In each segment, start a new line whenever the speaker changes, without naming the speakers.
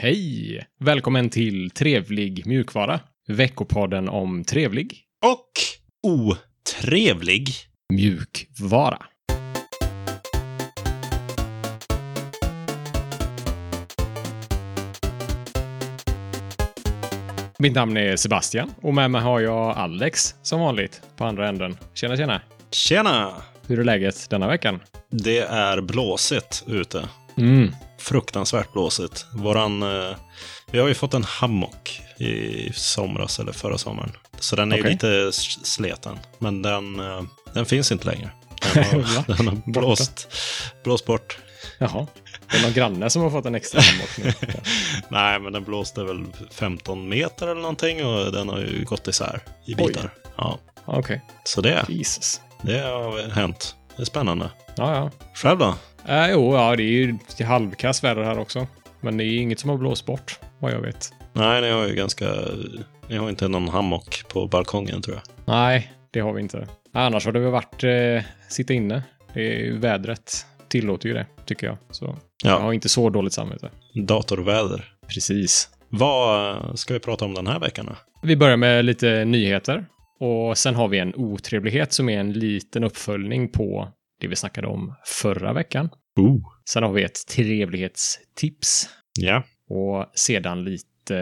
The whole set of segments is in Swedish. Hej! Välkommen till Trevlig mjukvara. Veckopodden om trevlig
Och otrevlig.
mjukvara. Mitt namn är Sebastian och med mig har jag Alex som vanligt på andra änden. Tjena tjena!
Tjena!
Hur är läget denna veckan?
Det är blåsigt ute.
Mm.
Fruktansvärt blåsigt. Våran, eh, vi har ju fått en hammock i somras eller förra sommaren. Så den är ju
Okej.
lite s- sleten. Men den, eh, den finns inte längre. Den
Va?
har, den har blåst, blåst bort.
Jaha, det är någon granne som har fått en extra hammock nu.
Nej, men den blåste väl 15 meter eller någonting och den har ju gått isär i bitar. Ja,
Okej,
så det,
Jesus.
det har hänt. Det är spännande.
Ja, ja.
Själv då?
Äh, jo, ja, det är ju halvkass väder här också. Men det är inget som har blåst bort, vad jag vet.
Nej, ni har ju ganska... Ni har inte någon hammock på balkongen tror jag.
Nej, det har vi inte. Annars har det väl varit eh, sitta inne. Det är ju vädret tillåter ju det, tycker jag. Så jag
Ja,
har inte så dåligt samvete.
datorväder.
Precis.
Vad ska vi prata om den här veckan då?
Vi börjar med lite nyheter. Och sen har vi en otrevlighet som är en liten uppföljning på det vi snackade om förra veckan.
Ooh.
Sen har vi ett trevlighetstips
Ja.
Och sedan lite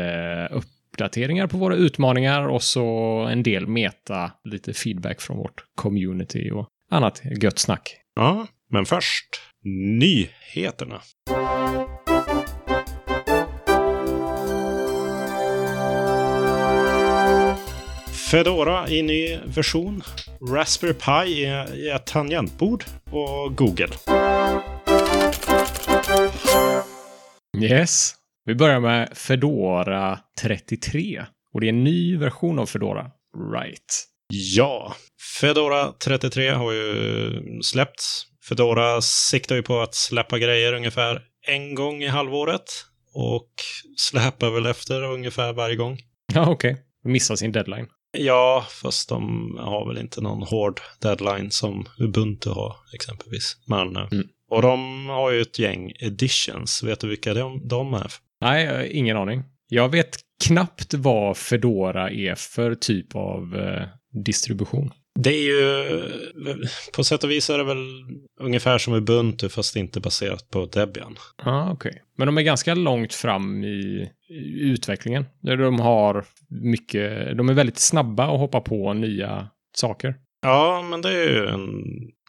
eh, uppdateringar på våra utmaningar och så en del meta, lite feedback från vårt community och annat gött snack.
ja, men först nyheterna. Fedora i ny version. Raspberry Pi är i ett tangentbord och Google.
Yes. Vi börjar med Fedora 33 och det är en ny version av Fedora. Right.
Ja, Fedora 33 har ju släppts. Fedora siktar ju på att släppa grejer ungefär en gång i halvåret och släpar väl efter ungefär varje gång.
Ja, okej. Missar sin deadline.
Ja, fast de har väl inte någon hård deadline som Ubuntu har exempelvis. Men, eh,
Mm.
Och de har ju ett gäng editions. Vet du vilka de, de är?
Nej, jag har ingen aning. Jag vet knappt vad Fedora är för typ av eh, distribution.
Det är ju, eh, på sätt och vis är det väl ungefär som Ubuntu fast inte baserat på Debian.
Ja, ah, okej. Men de är ganska långt fram i i utvecklingen. Där De har mycket, de är väldigt snabba att hoppa på nya saker.
Ja, men det, är ju en,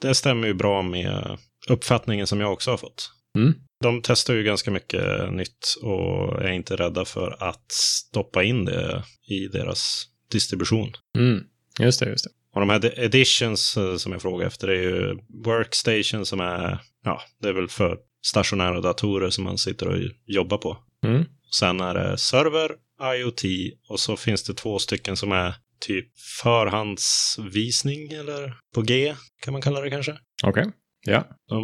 det stämmer ju bra med uppfattningen som jag också har fått.
Mm.
De testar ju ganska mycket nytt och är inte rädda för att stoppa in det i deras distribution.
Mm. Just det, just det.
Och de här de- editions eh, som jag frågar efter är ju workstation som är, ja, det är väl för stationära datorer som man sitter och jobbar på.
Mm.
Sen är det server, IoT och så finns det två stycken som är typ förhandsvisning eller på G kan man kalla det kanske.
Okej. Ja,
De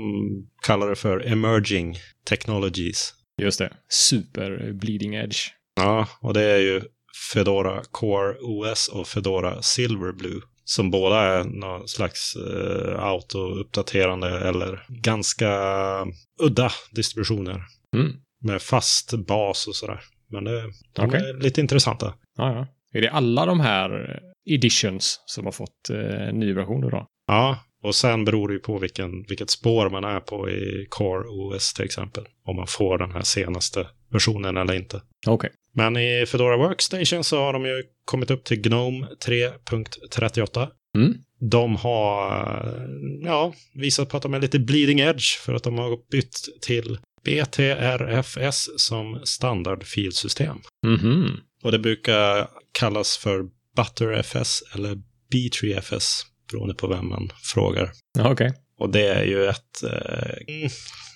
kallar det för emerging technologies.
just det. Super bleeding edge.
Ja, och det är ju Fedora Core OS och Fedora Silverblue som båda är någon slags eh, auto-uppdaterande eller ganska udda distributioner
Mm.
med fast bas och sådär. Men det, de
Okej.
är lite intressanta.
Ja, ja. Är det alla de här editions som har fått eh, ny version idag?
Ja, och sen beror det ju på vilken, vilket spår man är på i Core OS till exempel. Om man får den här senaste versionen eller inte.
Okej.
Men i Fedora Workstation så har de ju kommit upp till Gnome 3.38.
Mm.
De har eh, ja, visat på att de är lite bleeding edge för att de har bytt till BTRFS som standardfilsystem.
Mhm.
Och det brukar kallas för ButterFS eller B3FS beroende på vem man frågar.
Ja, Okej.
Och det är ju ett eh, mm,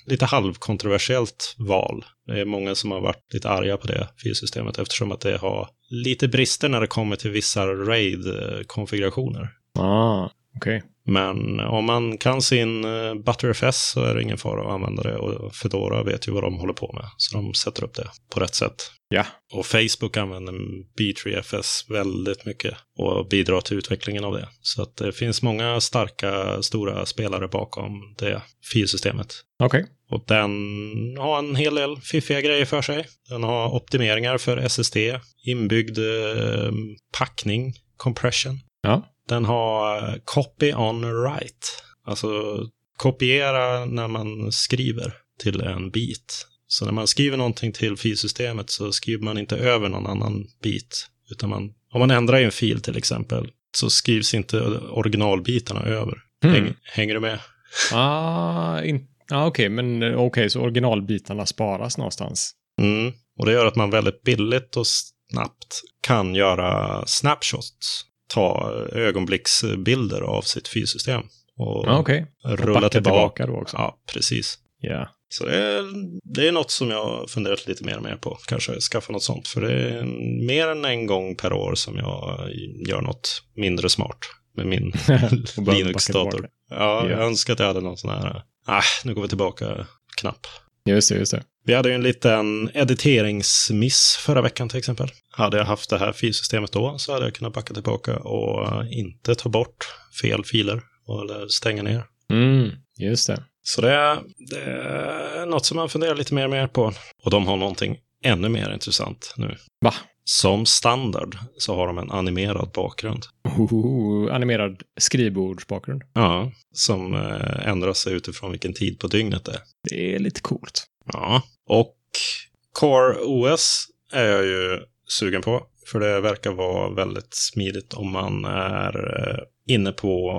lite halvkontroversiellt val. Det är många som har varit lite arga på det filsystemet eftersom att det har eh, lite brister när det kommer till vissa RAID-konfigurationer.
Ah, okej.
Men om man kan sin eh, ButterFS så är det ingen fara att använda det. Och Fedora vet ju vad de håller på med. Så de sätter upp det på rätt sätt.
Ja.
Och Facebook använder B3FS väldigt mycket och bidrar till utvecklingen av det. Så att det finns många starka, stora spelare bakom det filsystemet.
Okej.
Och den har en hel del fiffiga grejer för sig. Den har optimeringar för SSD, inbyggd eh, packning, compression.
Ja.
Den har eh, copy on write, alltså kopiera när man skriver till en bit. Så när man skriver någonting till filsystemet så skriver man inte över någon annan bit. Utan man, om man ändrar i en fil till exempel så skrivs inte originalbitarna över.
Mm.
Häng, hänger du med?
Ah, in... ah, okej, men eh, okej, så originalbitarna sparas någonstans.
Mm. Och det gör att man väldigt billigt och snabbt kan göra snapshots. Ta ögonblicksbilder av sitt filsystem. Och
Ah, okej.
rulla
Backa
tillbaka.
då också.
Ja, precis.
Ja.
Så det är, det är något som jag funderat lite mer och mer på. Kanske skaffa något sånt. För det är mer än en gång per år som jag gör något mindre smart med min
Och börja backa
Linux-dator.
tillbaka.
Ja, jag
Ja.
önskar att jag hade någon sån här, ah, nu går vi tillbaka-knapp.
Just det, just det.
Vi hade ju en liten editeringsmiss förra veckan till exempel. Hade jag haft det här filsystemet då så hade jag kunnat backa tillbaka och eh, inte ta bort fel filer och- eller stänga ner.
Mm, just det.
Så det är, det är något som man funderar lite mer och mer på. Och de har någonting ännu mer intressant nu.
Va?
Som standard så har de en animerad bakgrund.
Ohoho, animerad skrivbordsbakgrund.
Ja, som eh, ändras utifrån vilken tid på dygnet det är.
Det är lite coolt.
Ja, och Core OS är jag ju sugen på. För det verkar vara väldigt smidigt om man är eh, inne på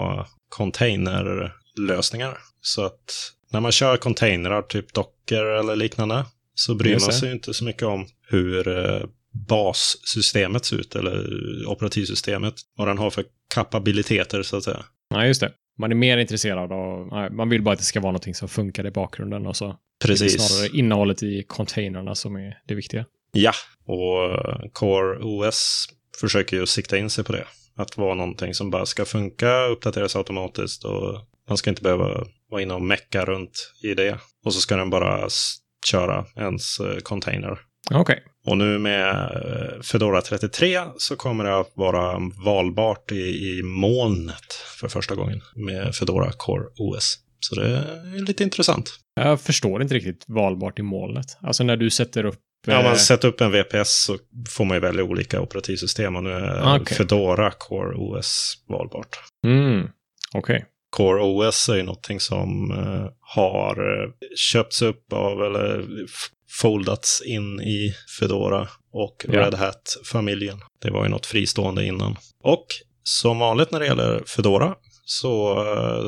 containerlösningar. Så att när man kör containrar, typ dockor eller liknande, så bryr
Just
man
det.
sig ju inte så mycket om hur eh, bassystemet ser ut, eller operativsystemet, vad den har för kapabiliteter så att säga.
Nej, just det. Man är mer intresserad av, nej, man vill bara att det ska vara någonting som funkar i bakgrunden och så är det snarare innehållet i containrarna som är det viktiga.
Ja, och eh, Core OS försöker ju sikta in sig på det. Att vara någonting som bara ska funka, uppdateras automatiskt och man ska inte behöva vara inne och mecka runt i det. Och så ska den bara s- köra ens eh, container.
Okej.
Och nu med eh, Fedora 33 så kommer det att vara valbart i, i molnet för första gången med Fedora Core OS. Så det är lite intressant.
Jag förstår inte riktigt valbart i molnet. Alltså när du sätter upp...
Ja, om
eh,
man sätter upp en VPS så får man ju välja olika operativsystem och nu är
Ah, okej.
Fedora Core OS valbart.
mm, Okej.
Core OS är ju någonting som eh, har eh, köpts upp av eller f- foldats in i Fedora och
Ja.
Red Hat-familjen. Det var ju något fristående innan. Och som vanligt när det gäller Fedora så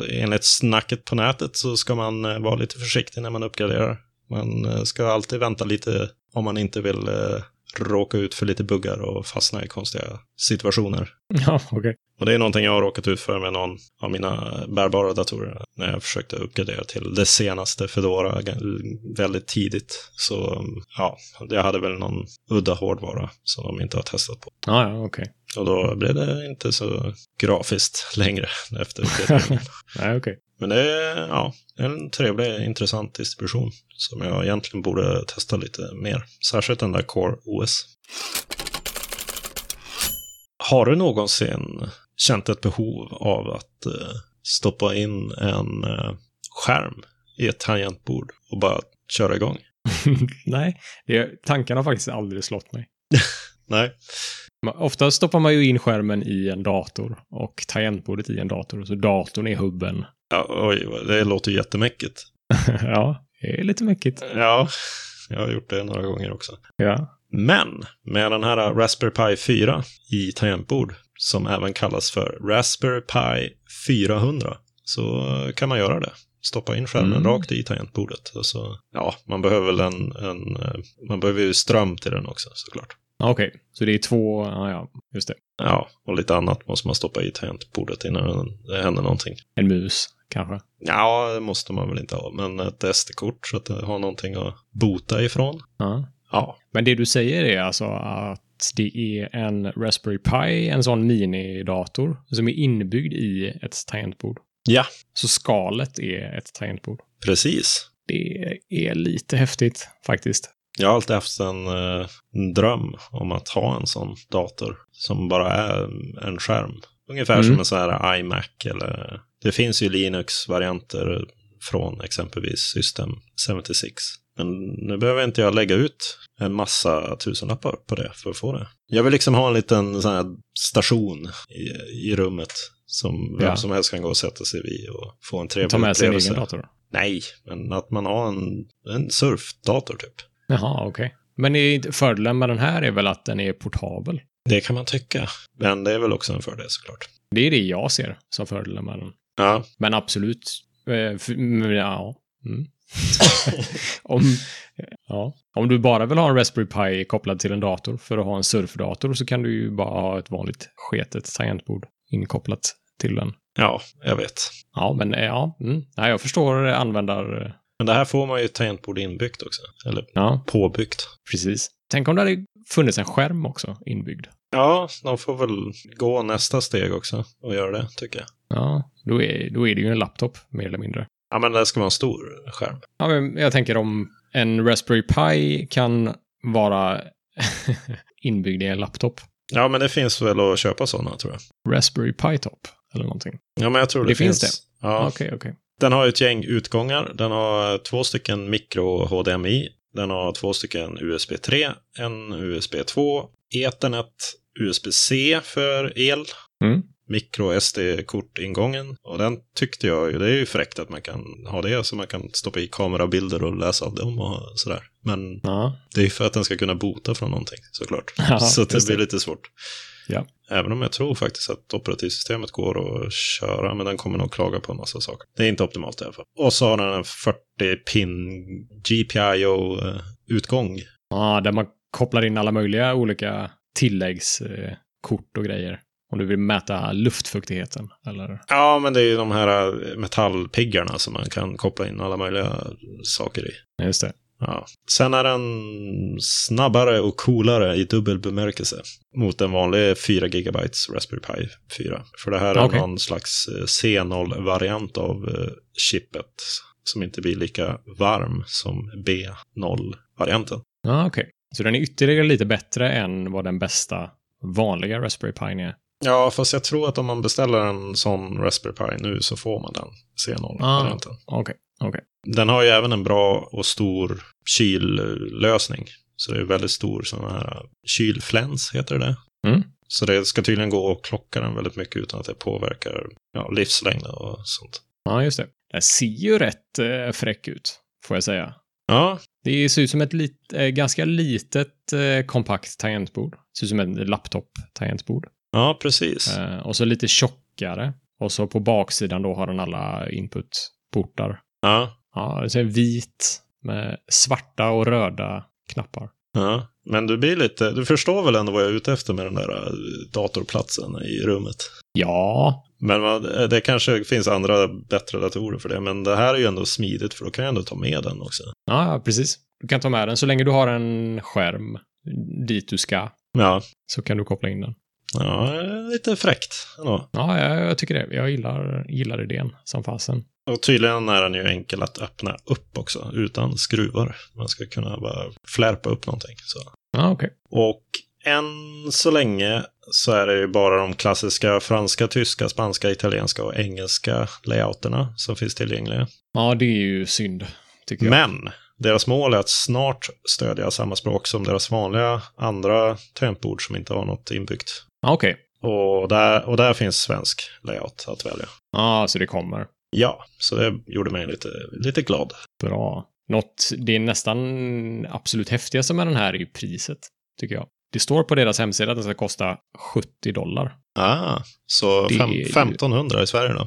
eh, enligt snacket på nätet så ska man eh, vara lite försiktig när man uppgraderar. Man eh, ska alltid vänta lite om man inte vill eh, råka ut för lite buggar och fastna i konstiga situationer.
Ja, okej.
Och det är någonting jag har råkat ut för med någon av mina bärbara datorer. När jag försökte uppgradera till det senaste Fedora g- väldigt tidigt. Så mm, ja, jag hade väl någon udda hårdvara som de inte har testat på.
Ah, ja, okej.
Och då blev det inte så grafiskt längre efter uppgraderingen.
Nej, okej.
Men det är ja, en trevlig, intressant distribution som jag egentligen borde testa lite mer. Särskilt den där Core OS. Har du någonsin känt ett behov av att eh, stoppa in en eh, skärm i ett tangentbord och bara köra igång?
Nej, det, tankarna har faktiskt aldrig slått mig.
Nej.
Man- Ofta stoppar man ju in skärmen i en dator och tangentbordet i en dator, så datorn är hubben.
Ja, oj, vad- det låter jättemäckigt.
ja, det är lite mäckigt.
Ja, jag har gjort det några gånger också.
Ja.
Men med den här Raspberry Pi 4 i tangentbord, som även kallas för Raspberry Pi 400, så kan man göra det. Stoppa in skärmen
Mm.
rakt i tangentbordet. Och så, ja, man behöver väl en, en... eh, Man behöver ju ström till den också såklart.
Ja, Okej, så det är två, ja, ja, just det.
Ja, och lite annat måste man stoppa i tangentbordet innan det händer någonting.
En mus, kanske.
Ja, det måste man väl inte ha, men ett SD-kort så att det har någonting att bota ifrån.
Ja.
Ja,
Men det du säger är alltså att det är en Raspberry Pi, en sån minidator, som är inbyggd i ett tangentbord.
Ja,
Så skalet är ett tangentbord.
precis.
Det är lite häftigt faktiskt.
Jag har alltid haft en, eh, en dröm om att ha en sån dator som bara är en skärm. Ungefär
Mm.
som en sån här iMac eller... Det finns ju Linux-varianter från exempelvis System 76. Men nu behöver inte jag lägga ut en massa tusenlappar på det för att få det. Jag vill liksom ha en liten sån här station i, i rummet som vem
Ja.
som helst kan gå och sätta sig vid och få en trevlig
Ta med sig en
upplevelse.
egen dator.
Nej, men att man har en, en surfdator typ.
Jaha, okej. Men är inte- fördelen med den här är väl att den är portabel.
Det kan man tycka. Men det är väl också en fördel såklart.
Det är det jag ser som fördelen med den.
Ja,
Men absolut. Eh, f- mm, ja. Mm. om, ja. om du bara vill ha en Raspberry Pi kopplad till en dator för att ha en surfdator så kan du ju bara ha ett vanligt sketet tangentbord inkopplat till den.
ja jag vet.
Ja, men eh, ja. Mm. Nej, jag förstår eh, användar...
Men det här får man ju ett tangentbord inbyggt också. Eller
Ja,
påbyggt.
precis. Tänk om det hade funnits en skärm också inbyggd.
Ja, de får väl gå nästa steg också och göra det, tycker jag.
Ja, då är, då är det ju en laptop mer eller mindre.
Ja, men det ska vara en stor skärm.
Ja, men jag tänker om en Raspberry Pi kan vara inbyggd i en laptop.
Ja, men det finns väl att köpa sådana, tror jag.
Raspberry Pi-top eller någonting.
Ja, men jag tror det,
Det finns
det. Ja,
Okej, okej.
Den har ju ett gäng utgångar. Den har två stycken mikro-HDMI. Den har två stycken USB 3, en USB 2, Ethernet, USB-C för el,
Mm.
micro SD-kortingången. Och den tyckte jag ju, det är ju fräckt att man kan ha det så man kan stoppa i kamerabilder och läsa av dem och sådär. Men
Ja.
det är ju för att den ska kunna bota från någonting såklart.
Ja,
så att det
just
blir
det.
lite svårt.
Ja.
Även om jag tror faktiskt att operativsystemet går att köra, men den kommer nog klaga på en massa saker. Det är inte optimalt i alla fall. Och så har den en 40-pin eh, GPIO-utgång.
ja, där man kopplar in alla möjliga olika tilläggskort och grejer. Om du vill mäta luftfuktigheten eller...
Ja, men det är ju de här eh, metallpiggarna som man kan koppla in alla möjliga saker i.
Just det.
Ja. Sen är den snabbare och coolare i dubbel bemärkelse mot en vanlig 4 GB Raspberry Pi 4. För det här är
Okej.
någon slags eh, C0-variant av eh, chippet som inte blir lika varm som B0-varianten.
Ja, okej. Så den är ytterligare lite bättre än vad den bästa vanliga Raspberry Pi är.
Ja, fast jag tror att om man beställer en sån Raspberry Pi nu så får man den C0-varianten.
Okej.
Den har ju även en bra och stor kyllösning. Så det är väldigt stor sån här kylfläns, heter det
Mm.
Så det ska tydligen gå att klocka den väldigt mycket utan att det påverkar ja, livslängden och sånt.
Ja, just det. Den ser ju rätt eh, fräck ut, får jag säga.
Ja,
Det ser ut som ett lit, eh, ganska litet eh, kompakt tangentbord. Ser ut som ett laptop-tangentbord.
ja precis.
Eh, och så lite tjockare. Och så på baksidan då har den alla inputportar.
Ja,
Ja, det ser vit med svarta och röda knappar.
ja. Men du blir lite, du förstår väl ändå vad jag är ute efter med den där eh, datorplatsen i rummet?
Ja,
Men vad- eh, det kanske finns andra bättre datorer för det, men det här är ju ändå smidigt för då kan jag ändå ta med den också.
ja ja, precis. Du kan ta med den så länge du har en skärm dit du ska.
Ja,
Så kan du koppla in den.
ja lite fräckt ändå.
Ja, jag, jag tycker det. Jag gillar, gillar idén som fasen.
Och tydligen är den ju enkel att öppna upp också, utan skruvar. Man ska kunna bara flärpa upp någonting. Så.
Ja, okej.
Och än så länge så är det ju bara de klassiska franska, tyska, spanska, italienska och engelska layouterna som finns tillgängliga.
Ja, det är ju synd, tycker jag.
Men deras mål är att snart stödja samma språk som deras vanliga andra tangentbord som inte har något inbyggt.
Ja, okej.
Och där, och där finns svensk layout att välja.
Ja, så det kommer.
Ja, så det gjorde mig lite, lite glad.
Bra. Något, det är nästan absolut häftigaste med den här är ju priset, tycker jag. Det står på deras hemsida att den ska kosta 70 dollar.
Ah, så
Det
fem,
är ju-
1500 i Sverige då?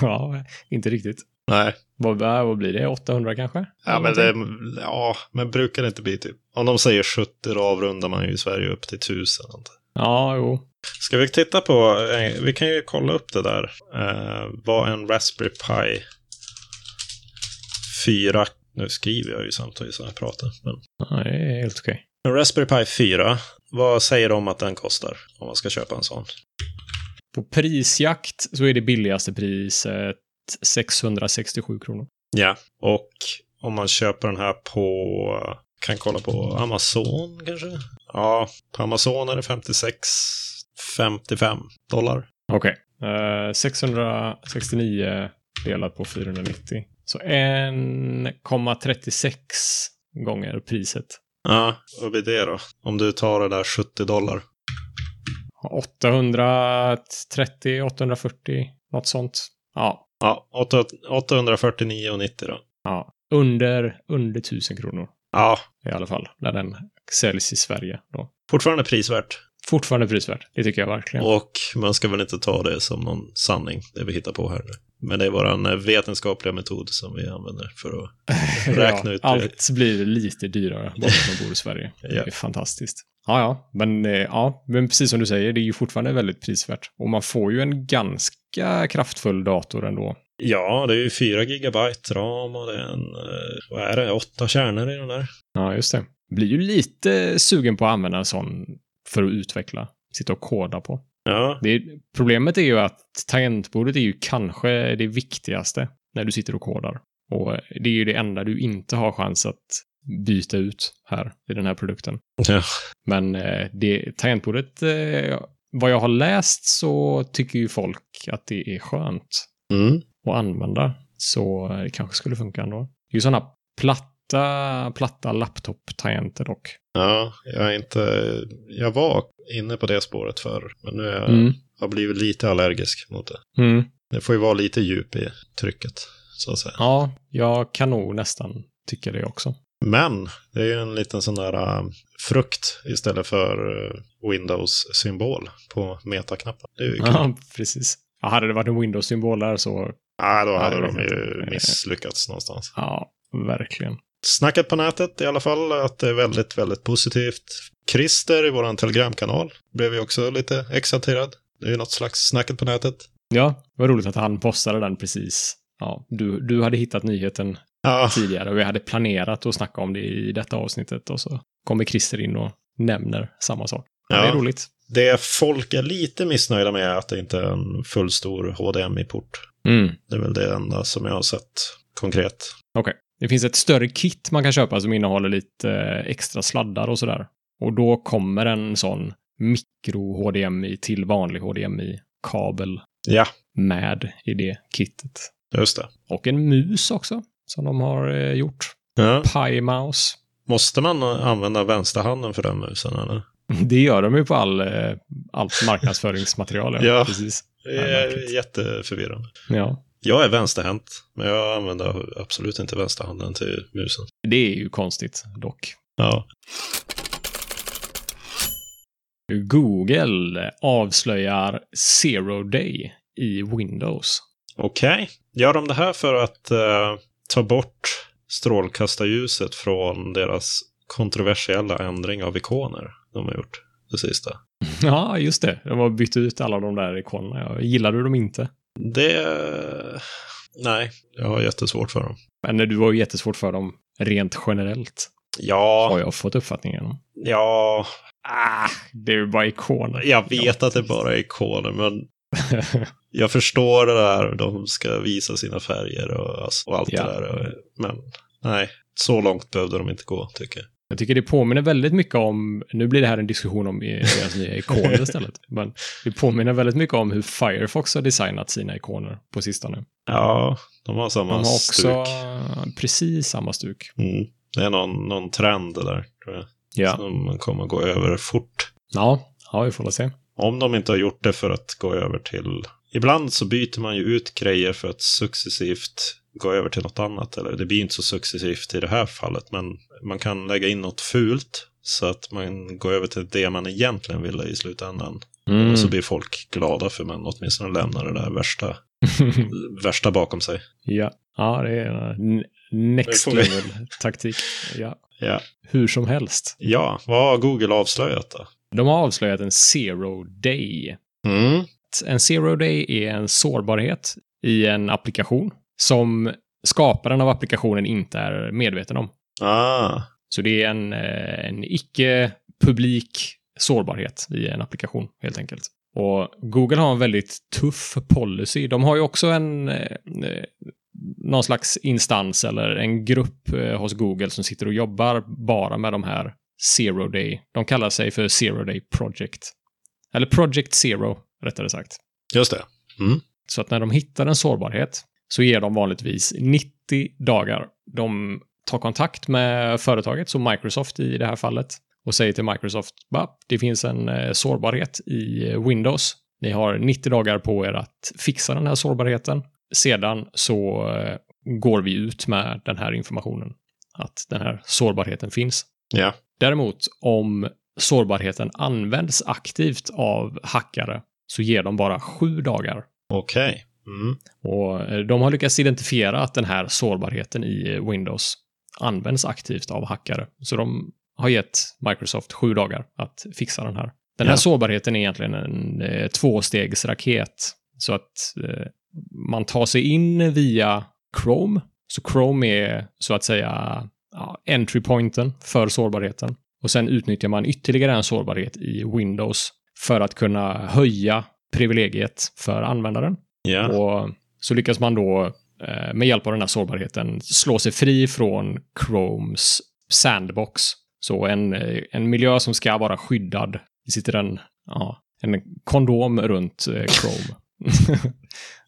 ja, inte riktigt.
Nej.
Vad, äh, vad blir det? 800 kanske?
Ja
Eller
men, det,
någonting?
ja, men brukar det inte bli typ... Om de säger 70 då avrundar man ju i Sverige upp till 1000. eller någonting.
Ja, jo.
Ska vi titta på... eh, Vi kan ju kolla upp det där. Eh, vad en Raspberry Pi 4... Nu skriver jag ju samtidigt som jag pratar. Men.
Ja, det är helt okej.
En Raspberry Pi 4, vad säger de att den kostar? Om man ska köpa en sån.
På prisjakt så är det billigaste priset 667 kronor.
Ja, och om man köper den här på, kan kolla på Amazon kanske? Ja, på Amazon är det 56, 55 dollar.
Okej. Eh, 669 delat på 490. Så 1,36 gånger priset.
Ja, vad blir det då? Om du tar det där 70 dollar.
830, 840, något sånt. Ja,
Ja, 8 849,90 då.
ja. Under, under 1000 kronor
Ja,
i alla fall. När den säljs i Sverige då.
fortfarande prisvärt.
Fortfarande prisvärt. Det tycker jag verkligen.
Och man ska väl inte ta det som någon sanning, det vi hittar på här nu. Men det är vår vetenskapliga metod som vi använder för att... räkna ut det.
Allt blir lite dyrare bara för att man bor i Sverige.
Ja.
Det är fantastiskt. Ja, ja. Men, eh, ja, men precis som du säger, det är ju fortfarande väldigt prisvärt. Och man får ju en ganska kraftfull dator ändå.
Ja, det är ju 4 gigabyte ram och det är en... eh, Vad är det? Åtta kärnor i den där.
Ja, just det. Blir ju lite sugen på att använda en sån för att utveckla, sitta och koda på.
Ja,
Det, problemet är ju att tangentbordet är ju kanske det viktigaste när du sitter och kodar. Och det är ju det enda du inte har chans att byta ut här i den här produkten.
Ja.
Men eh, det, tangentbordet, eh, vad jag har läst så tycker ju folk att det är skönt
mm.
att använda. Så eh, det kanske skulle funka ändå. Det är ju sådana platta, platta laptop-tangenter dock.
ja jag är inte... Jag var inne på det spåret förr, men nu är jag,
Mm.
har jag blivit lite allergisk mot det.
Mm.
Det får ju vara lite djup i trycket, så att säga.
Ja, jag kan nog nästan tycka det också.
Men det är ju en liten sån där äh, frukt istället för äh, Windows-symbol på metaknappen. Det är ju kul.
Ja, precis. Ja, hade det varit en Windows-symbol där så,
Nej, då
Ja,
hade
det
de
vet jag
ju
inte.
misslyckats någonstans.
ja, verkligen.
Snacket på nätet i alla fall, att det är väldigt, väldigt positivt. Christer i vår telegramkanal blev ju också lite exalterad. Det är ju något slags snacket på nätet.
Ja, vad roligt att han postade den precis. Ja, du, du hade hittat nyheten
Ja,
tidigare och vi hade planerat att snacka om det i detta avsnittet och så kommer Christer in och nämner samma sak. Ja. Det är
ja.
roligt.
Det folk är lite missnöjda med är att det inte är en fullstor HDMI-port.
Mm.
Det är väl det enda som jag har sett konkret.
Det finns ett större kit man kan köpa som innehåller lite eh, extra sladdar och sådär. Och då kommer en sån mikro-HDMI till vanlig HDMI-kabel
Ja,
med i det kittet.
just det.
Och en mus också, som de har eh, gjort.
Ja.
Pi Mouse.
Måste man använda vänsterhanden för den musen eller?
Det gör de ju på all, eh, allt marknadsföringsmaterial.
Ja.
Precis.
Det
Ja,
är
märkligt.
jätteförvirrande.
Ja.
Jag är vänsterhänt, men jag använder absolut inte vänsterhanden till musen.
Det är ju konstigt dock.
Ja.
Google avslöjar Zero Day i Windows.
Okej. Gör de det här för att eh, ta bort strålkastarljuset från deras kontroversiella ändring av ikoner de har gjort det sista?
Ja, just det. De har bytt ut alla de där ikonerna. Jag gillade dem inte.
Det... Nej, jag har jättesvårt för dem.
Men eh, du var ju jättesvårt för dem rent generellt,
Ja,
har jag fått uppfattningen om.
ja,
Ah, det är ju bara ikoner.
jag vet att det bara är ikoner, men
Ja.
jag förstår det där, de ska visa sina färger och, ass- och allt
Ja.
det där. Men nej, så långt behövde de inte gå, tycker jag.
Jag tycker det påminner väldigt mycket om, nu blir det här en diskussion om i- deras nya ikoner istället, men det påminner väldigt mycket om hur Firefox har designat sina ikoner på sistone.
Ja, de har
De
samma
har också
stuk.
precis samma stuk.
Mm. Det är någon, någon trend det där, tror jag.
Ja.
Som man kommer gå över fort.
ja, ja, vi får väl se.
Om de inte har gjort det för att gå över till... Ibland så byter man ju ut grejer för att successivt gå över till något annat. Eller det blir ju inte så successivt i det här fallet, men man kan lägga in något fult så att man går över till det man egentligen ville i slutändan. Och
Mm.
så blir folk glada för man åtminstone lämnar det där värsta, värsta bakom sig.
ja. ja, det är en next
Nu får vi-
level-taktik. Ja.
Ja.
Hur som helst.
Ja, vad har Google avslöjat då?
De har avslöjat en zero day.
Mm.
En zero day är en sårbarhet i en applikation som skaparen av applikationen inte är medveten om.
Ah,
Så det är en, eh, en icke-publik sårbarhet i en applikation helt enkelt. Och Google har en väldigt tuff policy. De har ju också en eh, någon slags instans eller en grupp eh, hos Google som sitter och jobbar bara med de här Zero Day. De kallar sig för Zero Day Project. Eller Project Zero, rättare sagt.
Just det. Mm.
Så att när de hittar en sårbarhet så ger de vanligtvis 90 dagar. De tar kontakt med företaget, som Microsoft i det här fallet, och säger till Microsoft att det finns en eh, sårbarhet i eh, Windows. Ni har 90 dagar på er att fixa den här sårbarheten. Sedan så eh, går vi ut med den här informationen, att den här sårbarheten finns.
Ja.
Däremot om sårbarheten används aktivt av hackare så ger de bara sju dagar
Okej. Mm.
och eh, de har lyckats identifiera att den här sårbarheten i eh, Windows används aktivt av hackare. Så de har gett Microsoft sju dagar att fixa den här. Den här
Ja.
sårbarheten är egentligen en eh, tvåstegsraket. Så att eh, man tar sig in via Chrome. Så Chrome är så att säga ja, entry pointen för sårbarheten. Och sen utnyttjar man ytterligare en sårbarhet i Windows för att kunna höja privilegiet för användaren.
Ja.
Och så lyckas man då eh, med hjälp av den här sårbarheten slå sig fri från Chromes sandbox. Så en, eh, en miljö som ska vara skyddad. Det sitter en, ja, en kondom runt eh, Chrome.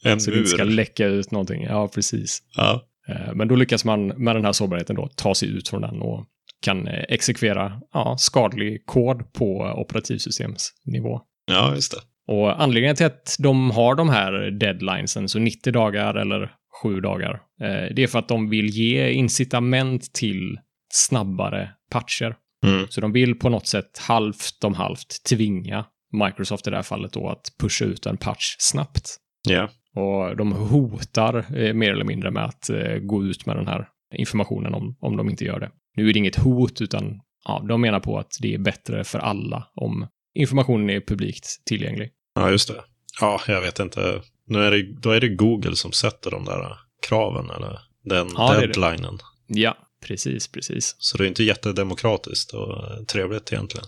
En
så det
mur.
inte ska läcka ut någonting. Ja, precis.
Ja.
Eh, Men då lyckas man med den här sårbarheten då ta sig ut från den och kan eh, exekvera ja, skadlig kod på eh, operativsystemsnivå.
ja, just det.
Och anledningen till att de har de här deadlinesen, så 90 dagar eller 7 dagar, eh, det är för att de vill ge incitament till snabbare patcher.
Mm.
Så de vill på något sätt halvt om halvt tvinga Microsoft i det här fallet då att pusha ut en patch snabbt.
Ja.
Och de hotar eh, mer eller mindre med att eh, gå ut med den här informationen om, om de inte gör det. Nu är det inget hot, utan ja, de menar på att det är bättre för alla om informationen är publikt tillgänglig.
ja, just det. Ja, jag vet inte. Nu är det, då är det Google som sätter de där kraven, eller? Den
Ja, det är det.
deadlinen.
Ja, precis, precis.
Så det är inte jättedemokratiskt och eh, trevligt egentligen.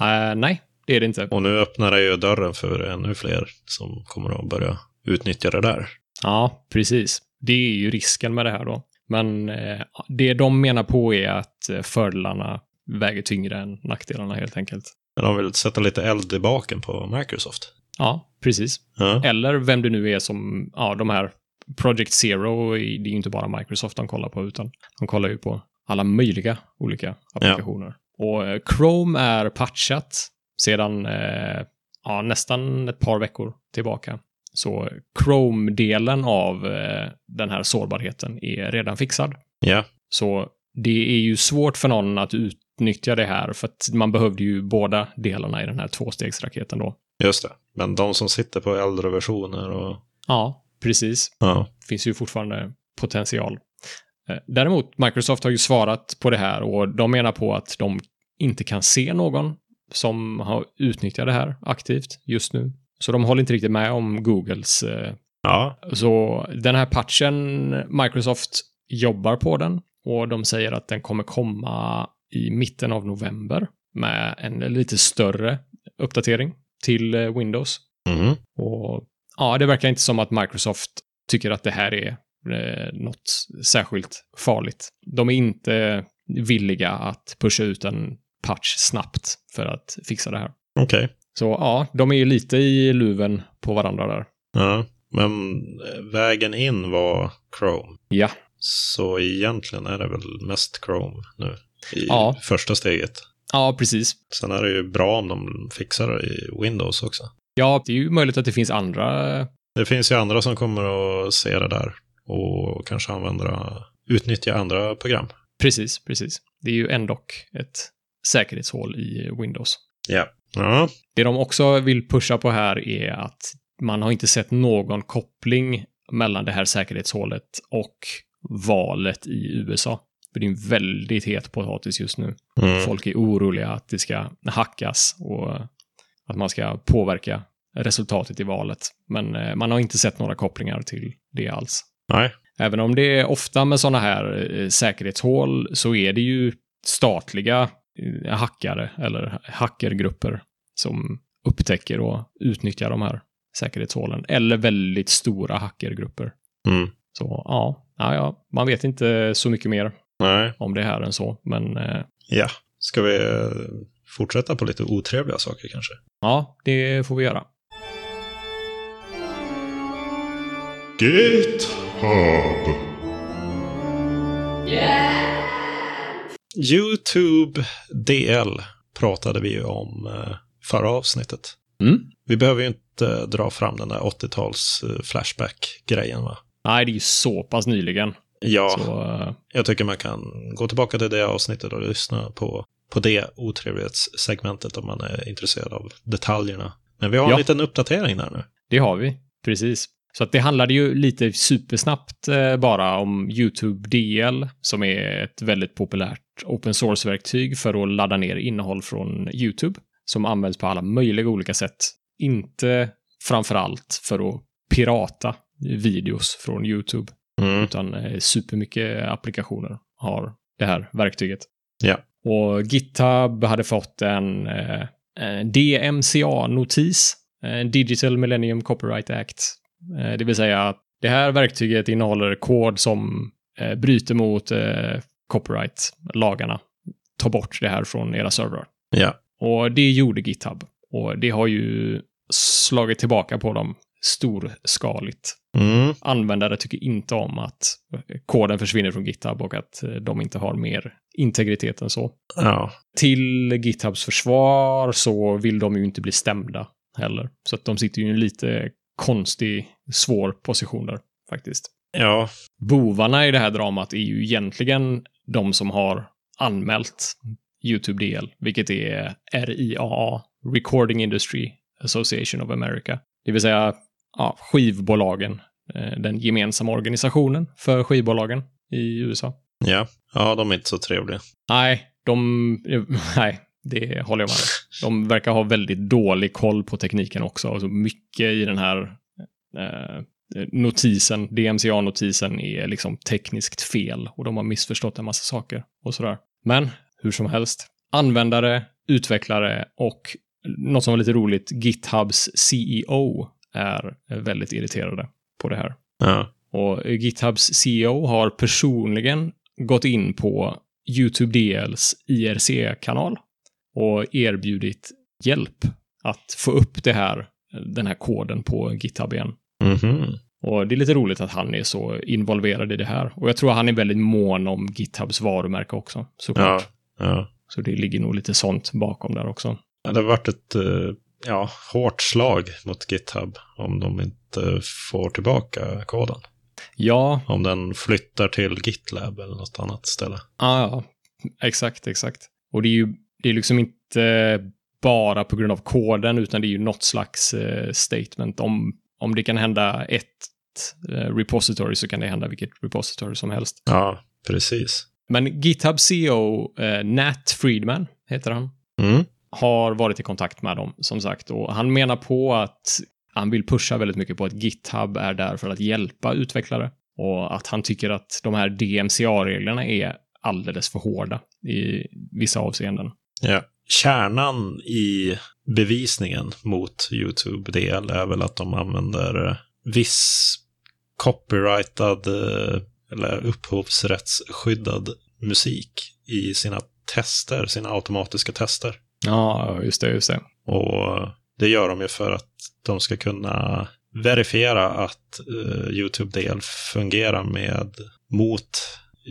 Eh, nej, det är det inte.
Och nu öppnar det ju dörren för ännu fler som kommer att börja utnyttja det där.
Ja, precis. Det är ju risken med det här då. Men eh, det de menar på är att eh, fördelarna väger tyngre än nackdelarna helt enkelt.
Men de vill sätta lite eld i baken på Microsoft.
Ja, precis.
Ja,
Eller vem det nu är som, ja, de här Project Zero, det är ju inte bara Microsoft de kollar på, utan de kollar ju på alla möjliga olika applikationer. Och eh, Chrome är patchat sedan eh, ja, nästan ett par veckor tillbaka. Så Chrome-delen av eh, den här sårbarheten är redan fixad.
ja.
Så det är ju svårt för någon att utnyttja det här, för att man behövde ju båda delarna i den här tvåstegsraketen då.
just det. Men de som sitter på äldre versioner och...
Ja, precis.
Ja,
finns ju fortfarande potential. Eh, Däremot, Microsoft har ju svarat på det här och de menar på att de inte kan se någon som har utnyttjat det här aktivt just nu. Så de håller inte riktigt med om Googles. eh,
ja.
Så den här patchen, Microsoft jobbar på den och de säger att den kommer komma i mitten av november med en lite större uppdatering till eh, Windows.
Mhm.
Och ja, det verkar inte som att Microsoft tycker att det här är eh, något särskilt farligt. De är inte villiga att pusha ut en patch snabbt för att fixa det här.
Okej.
Så ja, de är ju lite i luven på varandra där.
Ja. Men eh, vägen in var Chrome.
Ja.
Så egentligen är det väl mest Chrome nu i
Ja.
första steget.
Ja, precis.
Sen är det ju bra om de fixar det i Windows också.
Ja, det är ju möjligt att det finns andra. eh,
Det finns ju andra som kommer att se det där och kanske använda, utnyttja andra program.
Precis, precis. Det är ju ändå ett säkerhetshål i Windows.
Ja,
Det de också vill pusha på här är att man har inte sett någon koppling mellan det här säkerhetshålet och valet i USA. För det är en väldigt het potatis just nu.
mm.
Folk är oroliga att det ska hackas och att man ska påverka resultatet i valet. Men eh, man har inte sett några kopplingar till det alls.
nej,
Även om det är ofta med sådana här eh, säkerhetshål så är det ju statliga eh, hackare eller hackergrupper som upptäcker och utnyttjar de här säkerhetshålen. Eller väldigt stora hackergrupper.
Mm.
Så ja, ja, ja, man vet inte så mycket mer
Nej.
om det här än så. Men eh,
Ja. Ska vi eh, fortsätta på lite otrevliga saker kanske?
ja, det får vi göra.
GitHub.
YouTube DL pratade vi ju om eh, förra avsnittet.
Mm.
Vi behöver ju inte eh, dra fram den där 80-tals eh, Flashback-grejen va?
Nej, det är ju så pass nyligen.
Ja,
Så, eh,
jag tycker man kan gå tillbaka till det avsnittet och lyssna på, på det otrevlighetssegmentet om man är intresserad av detaljerna. Men vi har
Ja.
en liten uppdatering där nu.
det har vi. Precis. Så att det handlade ju lite supersnabbt eh, bara om YouTube DL, som är ett väldigt populärt open source-verktyg för att ladda ner innehåll från YouTube, som används på alla möjliga olika sätt. Inte framför allt för att pirata videos från YouTube.
Mm.
utan eh, supermycket applikationer har det här verktyget.
Ja.
Och GitHub hade fått en, eh, en DMCA-notis, en eh, Digital Millennium Copyright Act. Eh, det vill säga att det här verktyget innehåller kod som eh, bryter mot eh, copyright-lagarna. Ta bort det här från era servrar.
Ja.
Och det gjorde GitHub. Och det har ju slagit tillbaka på dem storskaligt
Mm.
användare tycker inte om att eh, koden försvinner från GitHub och att eh, de inte har mer integritet än så.
Ja.
Till GitHubs försvar så vill de ju inte bli stämda heller. Så att de sitter ju i en lite konstig, svår position där faktiskt.
Ja.
Bovarna i det här dramat är ju egentligen de som har anmält YouTube DL, vilket är RIAA, Recording Industry Association of America. Det vill säga ja, skivbolagen, eh, den gemensamma organisationen för skivbolagen i USA.
Ja. Ja, de är inte så trevliga.
Nej, de... Nej, det håller jag med om. De verkar ha väldigt dålig koll på tekniken också. Alltså mycket i den här eh, notisen, DMCA-notisen, är liksom tekniskt fel och de har missförstått en massa saker och sådär. Men hur som helst, användare, utvecklare och något som var lite roligt, GitHubs CEO är väldigt irriterade på det här.
Ja.
Och GitHubs CEO har personligen gått in på YouTube DLs IRC-kanal och erbjudit hjälp att få upp det här, den här koden på GitHub igen.
Mhm.
Och det är lite roligt att han är så involverad i det här. Och jag tror han är väldigt mån om GitHubs varumärke också, såklart.
Ja. Ja.
Så det ligger nog lite sånt bakom där också.
Ja, Det har varit ett eh, ja, hårt slag mot GitHub om de inte får tillbaka koden.
Ja,
Om den flyttar till GitLab eller något annat ställe.
Ja, ja. Exakt, exakt. Och det är ju det är liksom inte bara på grund av koden, utan det är ju något slags eh, statement. Om, om det kan hända ett eh, repository så kan det hända vilket repository som helst.
Ja, precis.
Men GitHub CEO eh, Nat Friedman heter han
Mm.
har varit i kontakt med dem, som sagt. Och han menar på att han vill pusha väldigt mycket på att GitHub är där för att hjälpa utvecklare. Och att han tycker att de här DMCA-reglerna är alldeles för hårda i vissa avseenden.
Ja. Kärnan i bevisningen mot YouTube DL är väl att de använder eh, viss copyrightad eh, eller upphovsrättsskyddad musik i sina tester, sina automatiska tester.
Ja, just det, just det.
Och det gör de ju för att de ska kunna verifiera att eh, YouTube DL fungerar med mot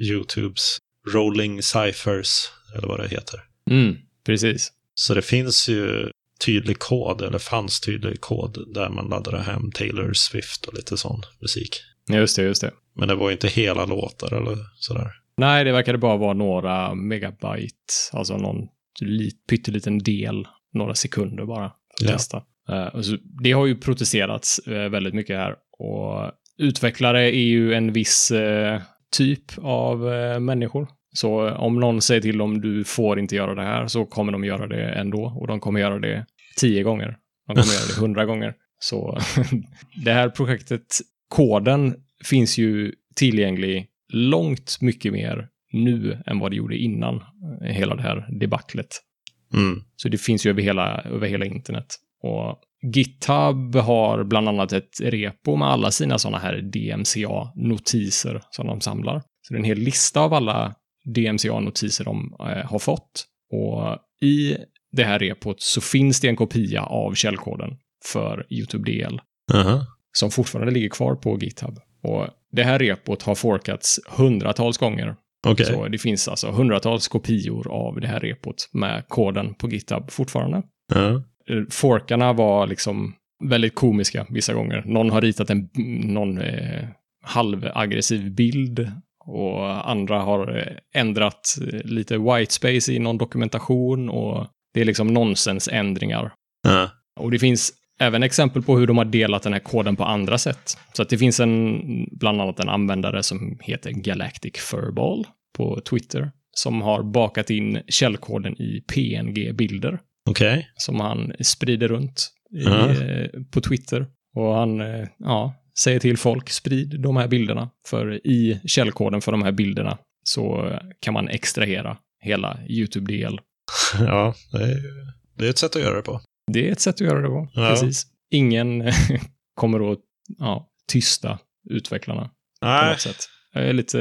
YouTubes rolling ciphers, eller vad det heter.
Mm, precis.
Så det finns ju tydlig kod, eller fanns tydlig kod, där man laddade hem Taylor Swift och lite sån musik.
Just det, just det.
Men det var ju inte hela låtar eller sådär.
Nej, det verkade bara vara några megabyte, alltså någon lit, pytteliten del, några sekunder bara. För att
Ja.
testa. Eh, och så, det har ju protesterats eh, väldigt mycket här och utvecklare är ju en viss eh, typ av eh, människor. Så eh, om någon säger till dem du får inte göra det här så kommer de göra det ändå och de kommer göra det tio gånger. De kommer göra det hundra gånger. Så det här projektet, koden finns ju tillgänglig långt mycket mer nu än vad det gjorde innan eh, hela det här debaclet.
Mm.
Så det finns ju över hela, över hela internet. Och GitHub har bland annat ett repo med alla sina sådana här DMCA-notiser som de samlar. Så det är en hel lista av alla DMCA-notiser de eh, har fått. Och i det här repot så finns det en kopia av källkoden för YouTube DL
Aha.
som fortfarande ligger kvar på GitHub. Och det här repot har forkats hundratals gånger.
Okej.
Så det finns alltså hundratals kopior av det här repot med koden på GitHub fortfarande.
Ja.
Eh, Forkarna var liksom väldigt komiska vissa gånger. Någon har ritat en någon eh, halvaggressiv bild och andra har eh, ändrat eh, lite whitespace i någon dokumentation och det är liksom nonsensändringar
Ja.
och det finns även exempel på hur de har delat den här koden på andra sätt. Så att det finns en, bland annat en användare som heter Galactic Furball på Twitter som har bakat in källkoden i PNG-bilder
Okej.
som han sprider runt i,
Ja.
eh, på Twitter. Och han eh, ja, säger till folk, sprid de här bilderna. För i källkoden för de här bilderna så kan man extrahera hela YouTube-del.
Ja, det är, ju- det är ett sätt att göra det på.
Det är ett sätt att göra det på.
Ja.
Precis. Ingen kommer att ja, tysta utvecklarna på
Nej,
något sätt. Jag, är lite,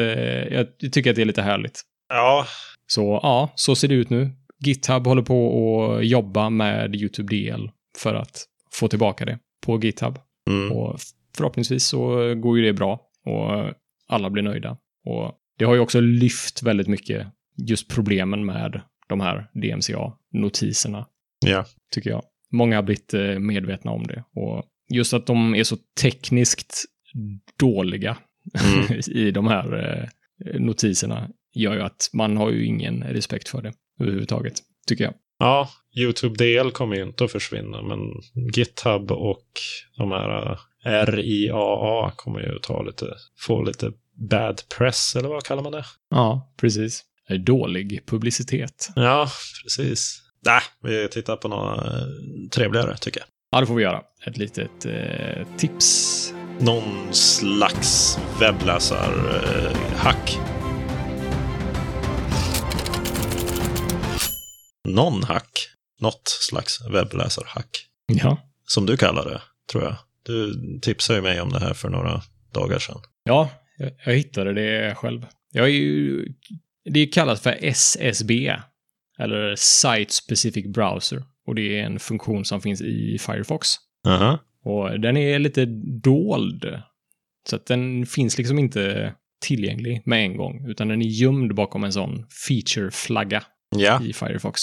jag tycker att det är lite härligt.
ja,
Så ja, så ser det ut nu. GitHub håller på att jobba med YouTube DL för att få tillbaka det på GitHub.
mm.
Och förhoppningsvis så går ju det bra och alla blir nöjda. Och det har ju också lyft väldigt mycket just problemen med de här DMCA-notiserna
ja,
tycker jag. Många har blivit eh, medvetna om det. Och just att de är så tekniskt dåliga
Mm.
i de här eh, notiserna gör ju att man har ju ingen respekt för det överhuvudtaget, tycker jag.
ja. YouTube DL kommer ju inte att försvinna, men GitHub och de här eh, RIAA kommer ju att ta lite, få lite bad press, eller vad kallar man det?
Ja, precis. Dålig publicitet.
Ja, precis. Nej, vi tittar på något eh, trevligare tycker jag.
Ja, det får vi göra. Ett litet eh, tips.
Någon slags eh, webbläsarhack. Någon hack. Något slags webbläsarhack.
Ja.
Som du kallar det, tror jag. Du tipsade ju mig om det här för några dagar sedan.
Ja, jag, jag hittade det själv. Jag är ju... Det är kallat för SSB, eller Site Specific Browser. Och det är en funktion som finns i Firefox.
Aha.
Och den är lite dold. Så att den finns liksom inte tillgänglig med en gång, utan den är gömd bakom en sån feature-flagga
Ja.
i Firefox.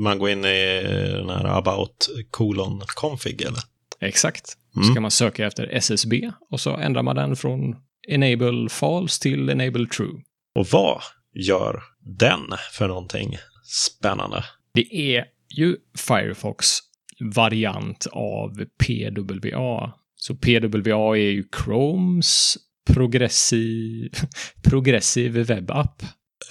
Man går in i den här about colon config eller?
Exakt.
Mm.
Så kan man söka efter SSB och så ändrar man den från enable false till enable true.
Och vad gör den för någonting spännande?
Det är ju Firefox variant av PWA. Så PWA är ju Chromes progressiv, progressiv webbapp.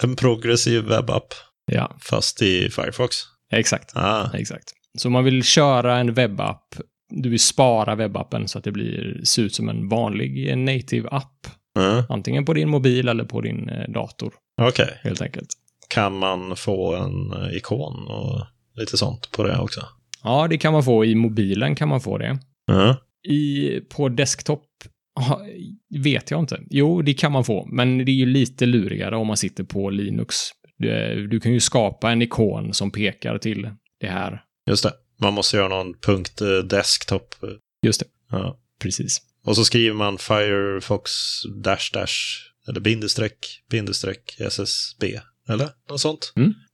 En progressiv webbapp,
Ja,
fast i Firefox.
exakt.
Ah,
Exakt. Så man vill köra en webbapp, du vill spara webbappen så att det blir, ser ut som en vanlig eh, native app.
mm.
Antingen på din mobil eller på din eh, dator,
Okej.
helt enkelt.
Kan man få en eh, ikon och lite sånt på det också?
Ja, det kan man få. I mobilen kan man få det.
Mm.
I, på desktop ja, vet jag inte. Jo, det kan man få, men det är ju lite lurigare om man sitter på Linux. Du, du kan ju skapa en ikon som pekar till det här.
Just det. Man måste göra någon punkt eh, desktop.
Just det,
Ja.
precis.
Och så skriver man Firefox dash dash eller bindestreck bindestreck SSB eller något sånt.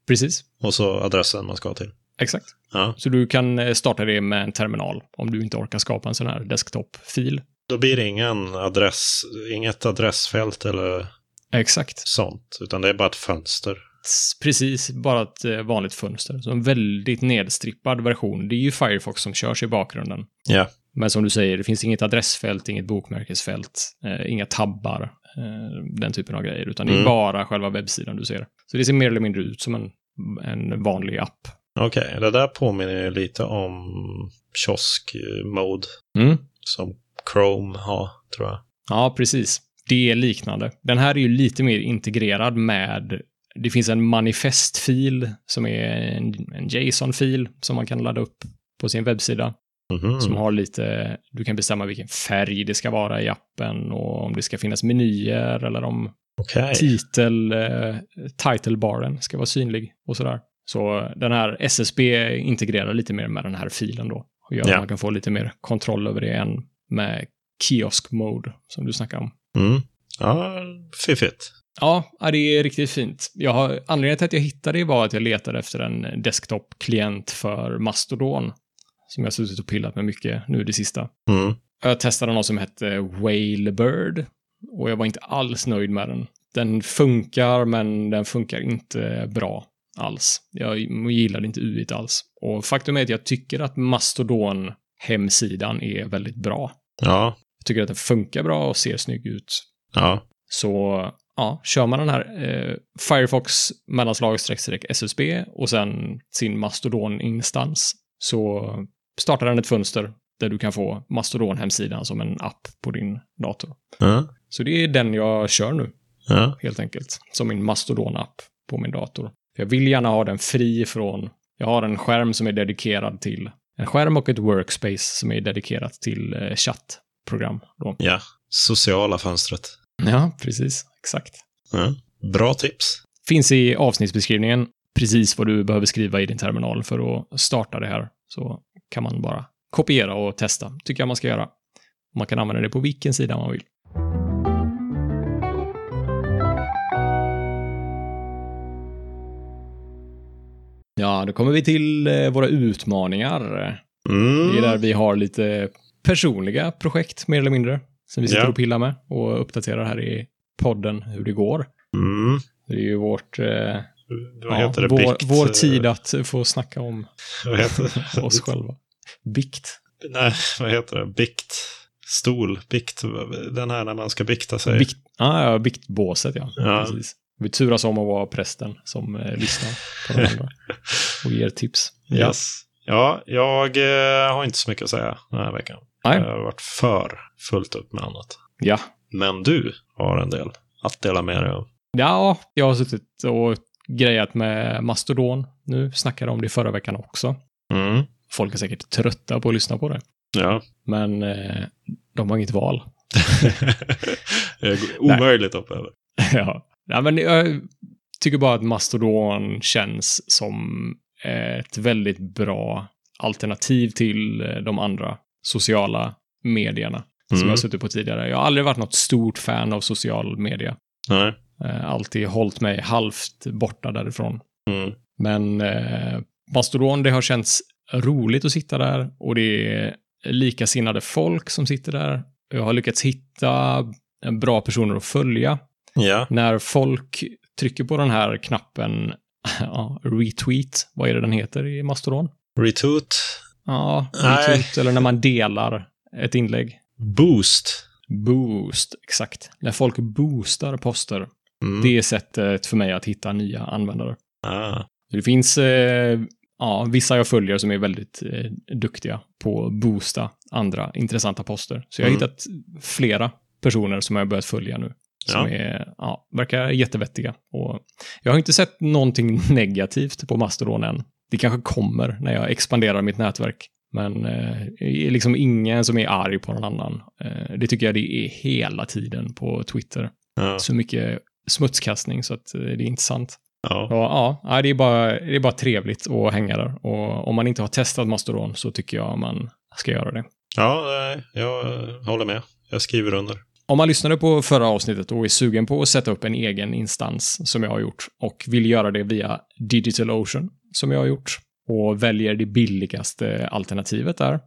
Precis,
Och så adressen man ska till.
exakt.
Ja.
Så du kan eh, starta det med en terminal om du inte orkar skapa en sån här desktop-fil.
Då blir det ingen adress, inget adressfält eller
Exakt.
sånt, utan det är bara ett fönster.
S- Precis, bara ett eh, vanligt fönster. Så en väldigt nedstrippad version. Det är ju Firefox som körs i bakgrunden.
Ja.
Men som du säger, det finns inget adressfält, inget bokmärkesfält, eh, inga tabbar, eh, den typen av grejer, utan det är
Mm.
bara själva webbsidan du ser. Så det ser mer eller mindre ut som en, en vanlig app.
Okej, det där påminner ju lite om kiosk-mode
Mm.
som Chrome har, tror jag.
Ja, precis. Det är liknande. Den här är ju lite mer integrerad med... Det finns en manifestfil som är en, en JSON-fil som man kan ladda upp på sin webbsida.
Mhm.
Som har lite, du kan bestämma vilken färg det ska vara i appen och om det ska finnas menyer eller om
Okej.
titel, eh, titlebaren ska vara synlig och sådär. Så den här SSB integrerar lite mer med den här filen då. Och gör
Ja.
att man kan få lite mer kontroll över det än med kiosk mode som du snackade om.
Mm. Ja, fiffigt.
Ja, ja, det är riktigt fint. Jag har, anledningen till att jag hittade det var att jag letade efter en desktop-klient för Mastodon. Som jag suttit och pillat med mycket nu det sista.
Mm.
Jag testade någon som hette Whalebird och jag var inte alls nöjd med den. Den funkar, men den funkar inte bra alls. Jag gillade inte UI t alls. Och faktum är att jag tycker att Mastodon-hemsidan är väldigt bra.
Ja,
Jag tycker att den funkar bra och ser snygg ut.
ja.
Så ja, kör man den här eh, Firefox mellanslag streck SSB och sen sin Mastodon-instans så startar den ett fönster där du kan få Mastodon-hemsidan som en app på din dator.
ja.
Så det är den jag kör nu
ja.
helt enkelt, som min Mastodon-app på min dator. Jag vill gärna ha den fri från, jag har en skärm som är dedikerad till, en skärm och ett workspace som är dedikerat till eh, chattprogram. Då.
ja. Sociala fönstret.
Ja, precis, exakt.
Ja. Bra tips.
finns i avsnittsbeskrivningen precis vad du behöver skriva i din terminal för att starta det här. Så kan man bara kopiera och testa, tycker jag man ska göra. Man kan använda det på vilken sida man vill. Ja, då kommer vi till eh, våra utmaningar.
Mm.
Det är där vi har lite personliga projekt, mer eller mindre, som vi sitter
Ja.
och pillar med och uppdaterar här i podden hur det går.
Mm.
Det är ju vårt, eh,
Vad
ja,
heter det?
vår,
Bikt?
vår tid att få snacka om
eh, Vad heter det?
oss själva. Bikt.
Nej, vad heter det? Bikt. Stol. Bikt. Den här när man ska bikta sig.
Bikt, ah, ja, biktbåset ja.
Ja.
Precis. Vi turas om att vara prästen som eh, lyssnar på de andra och ger tips.
Yes. Ja, jag eh, har inte så mycket att säga den här veckan.
Nej.
Jag har varit för fullt upp med annat.
Ja.
Men du har en del att dela med dig av.
ja, jag har suttit och grejat med Mastodon nu. Snackade om det förra veckan också.
Mm.
Folk är säkert trötta på att lyssna på det.
Ja.
Men eh, de har inget val.
Det är Omöjligt att hoppa över.
Ja. Nej, men jag tycker bara att Mastodon känns som ett väldigt bra alternativ till eh, de andra sociala medierna som
Mm.
jag har suttit på tidigare. Jag har aldrig varit något stort fan av social media.
Nej.
Eh, Alltid hållit mig halvt borta därifrån.
Mm.
Men eh, Mastodon, det har känts roligt att sitta där och det är likasinnade folk som sitter där. Jag har lyckats hitta eh, bra personer att följa
Ja.
när folk trycker på den här knappen, ja, retweet, vad är det den heter i Mastodon?
Retoot.
Ja,
Nej.
retweet, eller när man delar ett inlägg.
Boost.
Boost, exakt. När folk boostar poster,
Mm.
det är sättet för mig att hitta nya användare.
Ah.
Det finns eh, ja, vissa jag följer som är väldigt eh, duktiga på att boosta andra intressanta poster. Så jag har
Mm.
hittat flera personer som jag har börjat följa nu. Som
Ja.
är, ja, verkar jättevettiga. Och jag har inte sett någonting negativt på Mastodon än. Det kanske kommer när jag expanderar mitt nätverk. Men eh, det är liksom ingen som är arg på någon annan. Eh, det tycker jag det är hela tiden på Twitter.
Ja.
Så mycket smutskastning så att eh, det är intressant.
Ja.
Och, ja, ja, det är, bara, det är bara trevligt att hänga där. Och om man inte har testat Mastodon så tycker jag man ska göra det.
ja, nej, jag eh, håller med. Jag skriver under.
Om man lyssnade på förra avsnittet och är sugen på att sätta upp en egen instans som jag har gjort och vill göra det via DigitalOcean som jag har gjort och väljer det billigaste alternativet där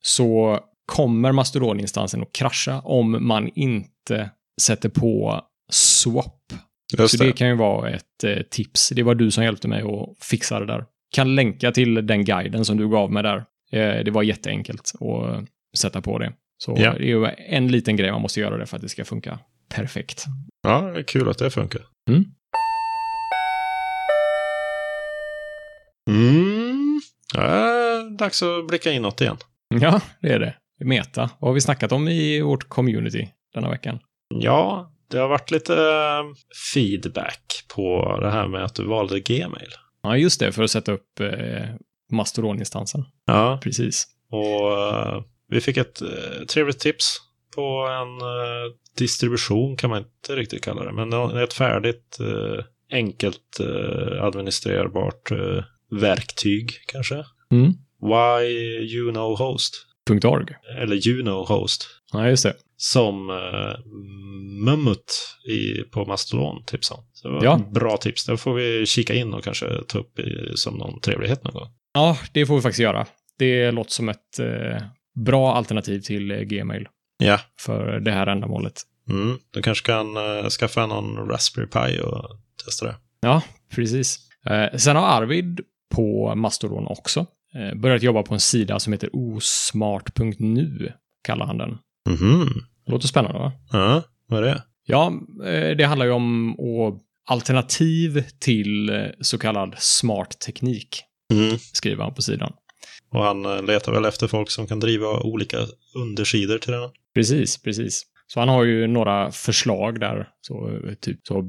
så kommer Mastodon-instansen att krascha om man inte sätter på swap
Just
så det kan ju vara ett eh, tips. Det var du som hjälpte mig att fixa det där. Kan länka till den guiden som du gav mig där. Eh, det var jätteenkelt att eh, sätta på det. Så
Ja.
det är ju en liten grej man måste göra det för att det ska funka perfekt.
Ja, det är kul att det funkar.
Mm.
Mm. Äh, dags att blicka inåt igen.
Ja, det är det. Meta. Vad har vi snackat om i vårt community denna veckan?
Ja, det har varit lite eh, feedback på det här med att du valde Gmail.
Ja, just det, för att sätta upp eh, Mastodon-instansen.
Ja,
Precis.
Och eh, vi fick ett eh, trevligt tips på en eh, distribution kan man inte riktigt kalla det, men nå- ett färdigt eh, enkelt eh, administrerbart eh, verktyg kanske.
Mm.
Why you know host,
.org.
eller you know host,
Ja, just det.
som eh, Mummut i, på Mastodon tipsade om. Så det var
Ja.
ett bra tips. Där får vi kika in och kanske ta upp i, som någon trevlighet någon gång.
Ja, det får vi faktiskt göra. Det låter som ett eh, bra alternativ till eh, Gmail
Ja.
för det här ändamålet.
Mm. Du kanske kan eh, skaffa någon Raspberry Pi och testa det.
Precis. Eh, sen har Arvid på Mastodon också eh, börjat jobba på en sida som heter osmart.nu, kallar han den.
Mhm.
Låter spännande, va?
Ja, vad är det?
Ja, eh, det handlar ju om att alternativ till eh, så kallad smart teknik,
Mm.
skriver han på sidan.
Och han eh, letar väl efter folk som kan driva olika undersidor till den.
Precis, precis. Så han har ju några förslag där. Så, eh, typ så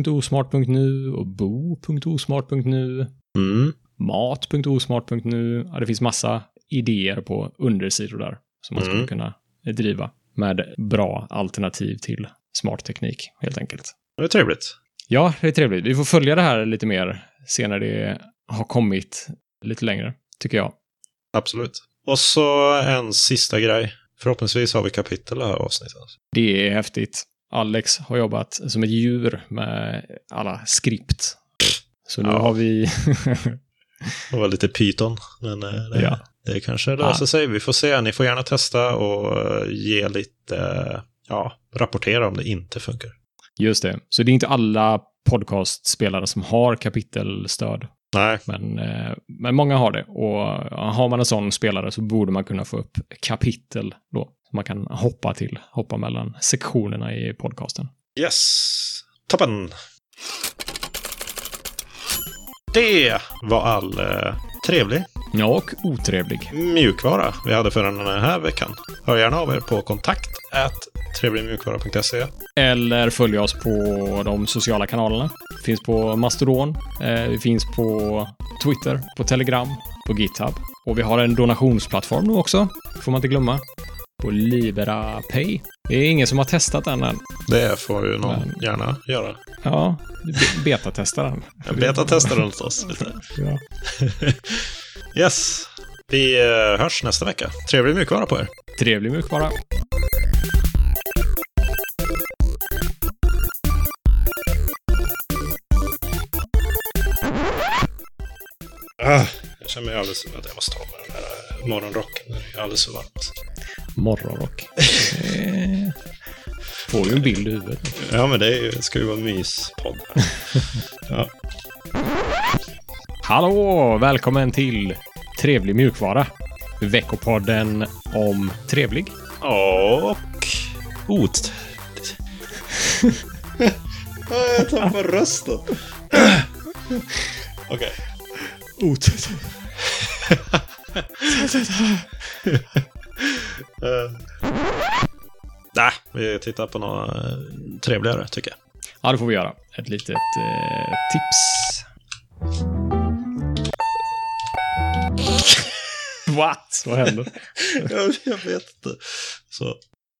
betala.osmart.nu och bo.osmart.nu,
Mm.
mat.osmart.nu. Ja, det finns massa idéer på undersidor där som man skulle
Mm.
kunna eh, driva med bra alternativ till smart teknik helt enkelt.
Det är trevligt.
Ja, det är trevligt. Vi får följa det här lite mer senare det har kommit lite längre, tycker jag.
Absolut. Och så en sista grej. Förhoppningsvis har vi kapitel i det här avsnittet.
Det är häftigt. Alex har jobbat som ett djur med alla skript. Så nu
Ja.
har vi...
Det var lite Python, men eh, det,
Ja.
det kanske löser
Ja.
sig. Vi får se. Ni får gärna testa och eh, ge lite, eh, ja, rapportera om det inte funkar.
Just det. Så det är inte alla podcastspelare som har kapitelstöd.
Nej,
Men, eh, men många har det. Och ja, har man en sån spelare så borde man kunna få upp kapitel då. Som man kan hoppa till. Hoppa mellan sektionerna i podcasten.
yes, toppen! Det var all eh, trevlig
Ja, och otrevlig.
mjukvara vi hade för den här veckan. Hör gärna av er på kontakt at trevligmjukvara.se.
Eller följ oss på de sociala kanalerna. Finns på Mastodon, eh, vi finns på Twitter, på Telegram, på GitHub. Och vi har en donationsplattform nu också, får man inte glömma. På LiberaPay. Det är ingen som har testat den än.
Det får ju någon
Men-
gärna göra.
Ja, be- betatesta den.
Jag betatestar den åt oss lite.
Ja.
Yes, vi eh, hörs nästa vecka. Trevlig mjukvara på er.
Trevlig mjukvara.
Ah, jag känner mig alldeles att jag måste ta med den här eh, morgonrocken. Det är alldeles för varmt.
Morgonrock. Eh, Får ju en bild i huvudet.
Ja, men det är ju, ska ju vara myspodd. ja.
Hallå! Välkommen till Trevlig mjukvara. Veckopodden om trevlig.
Och ot. jag tappar rösten. Okej.
Otäckt.
eh. Nej, vi tittar på något eh, trevligare tycker jag.
Ja, det får vi göra. Ett litet eh, tips. What? Vad händer?
jag, jag vet inte. Så.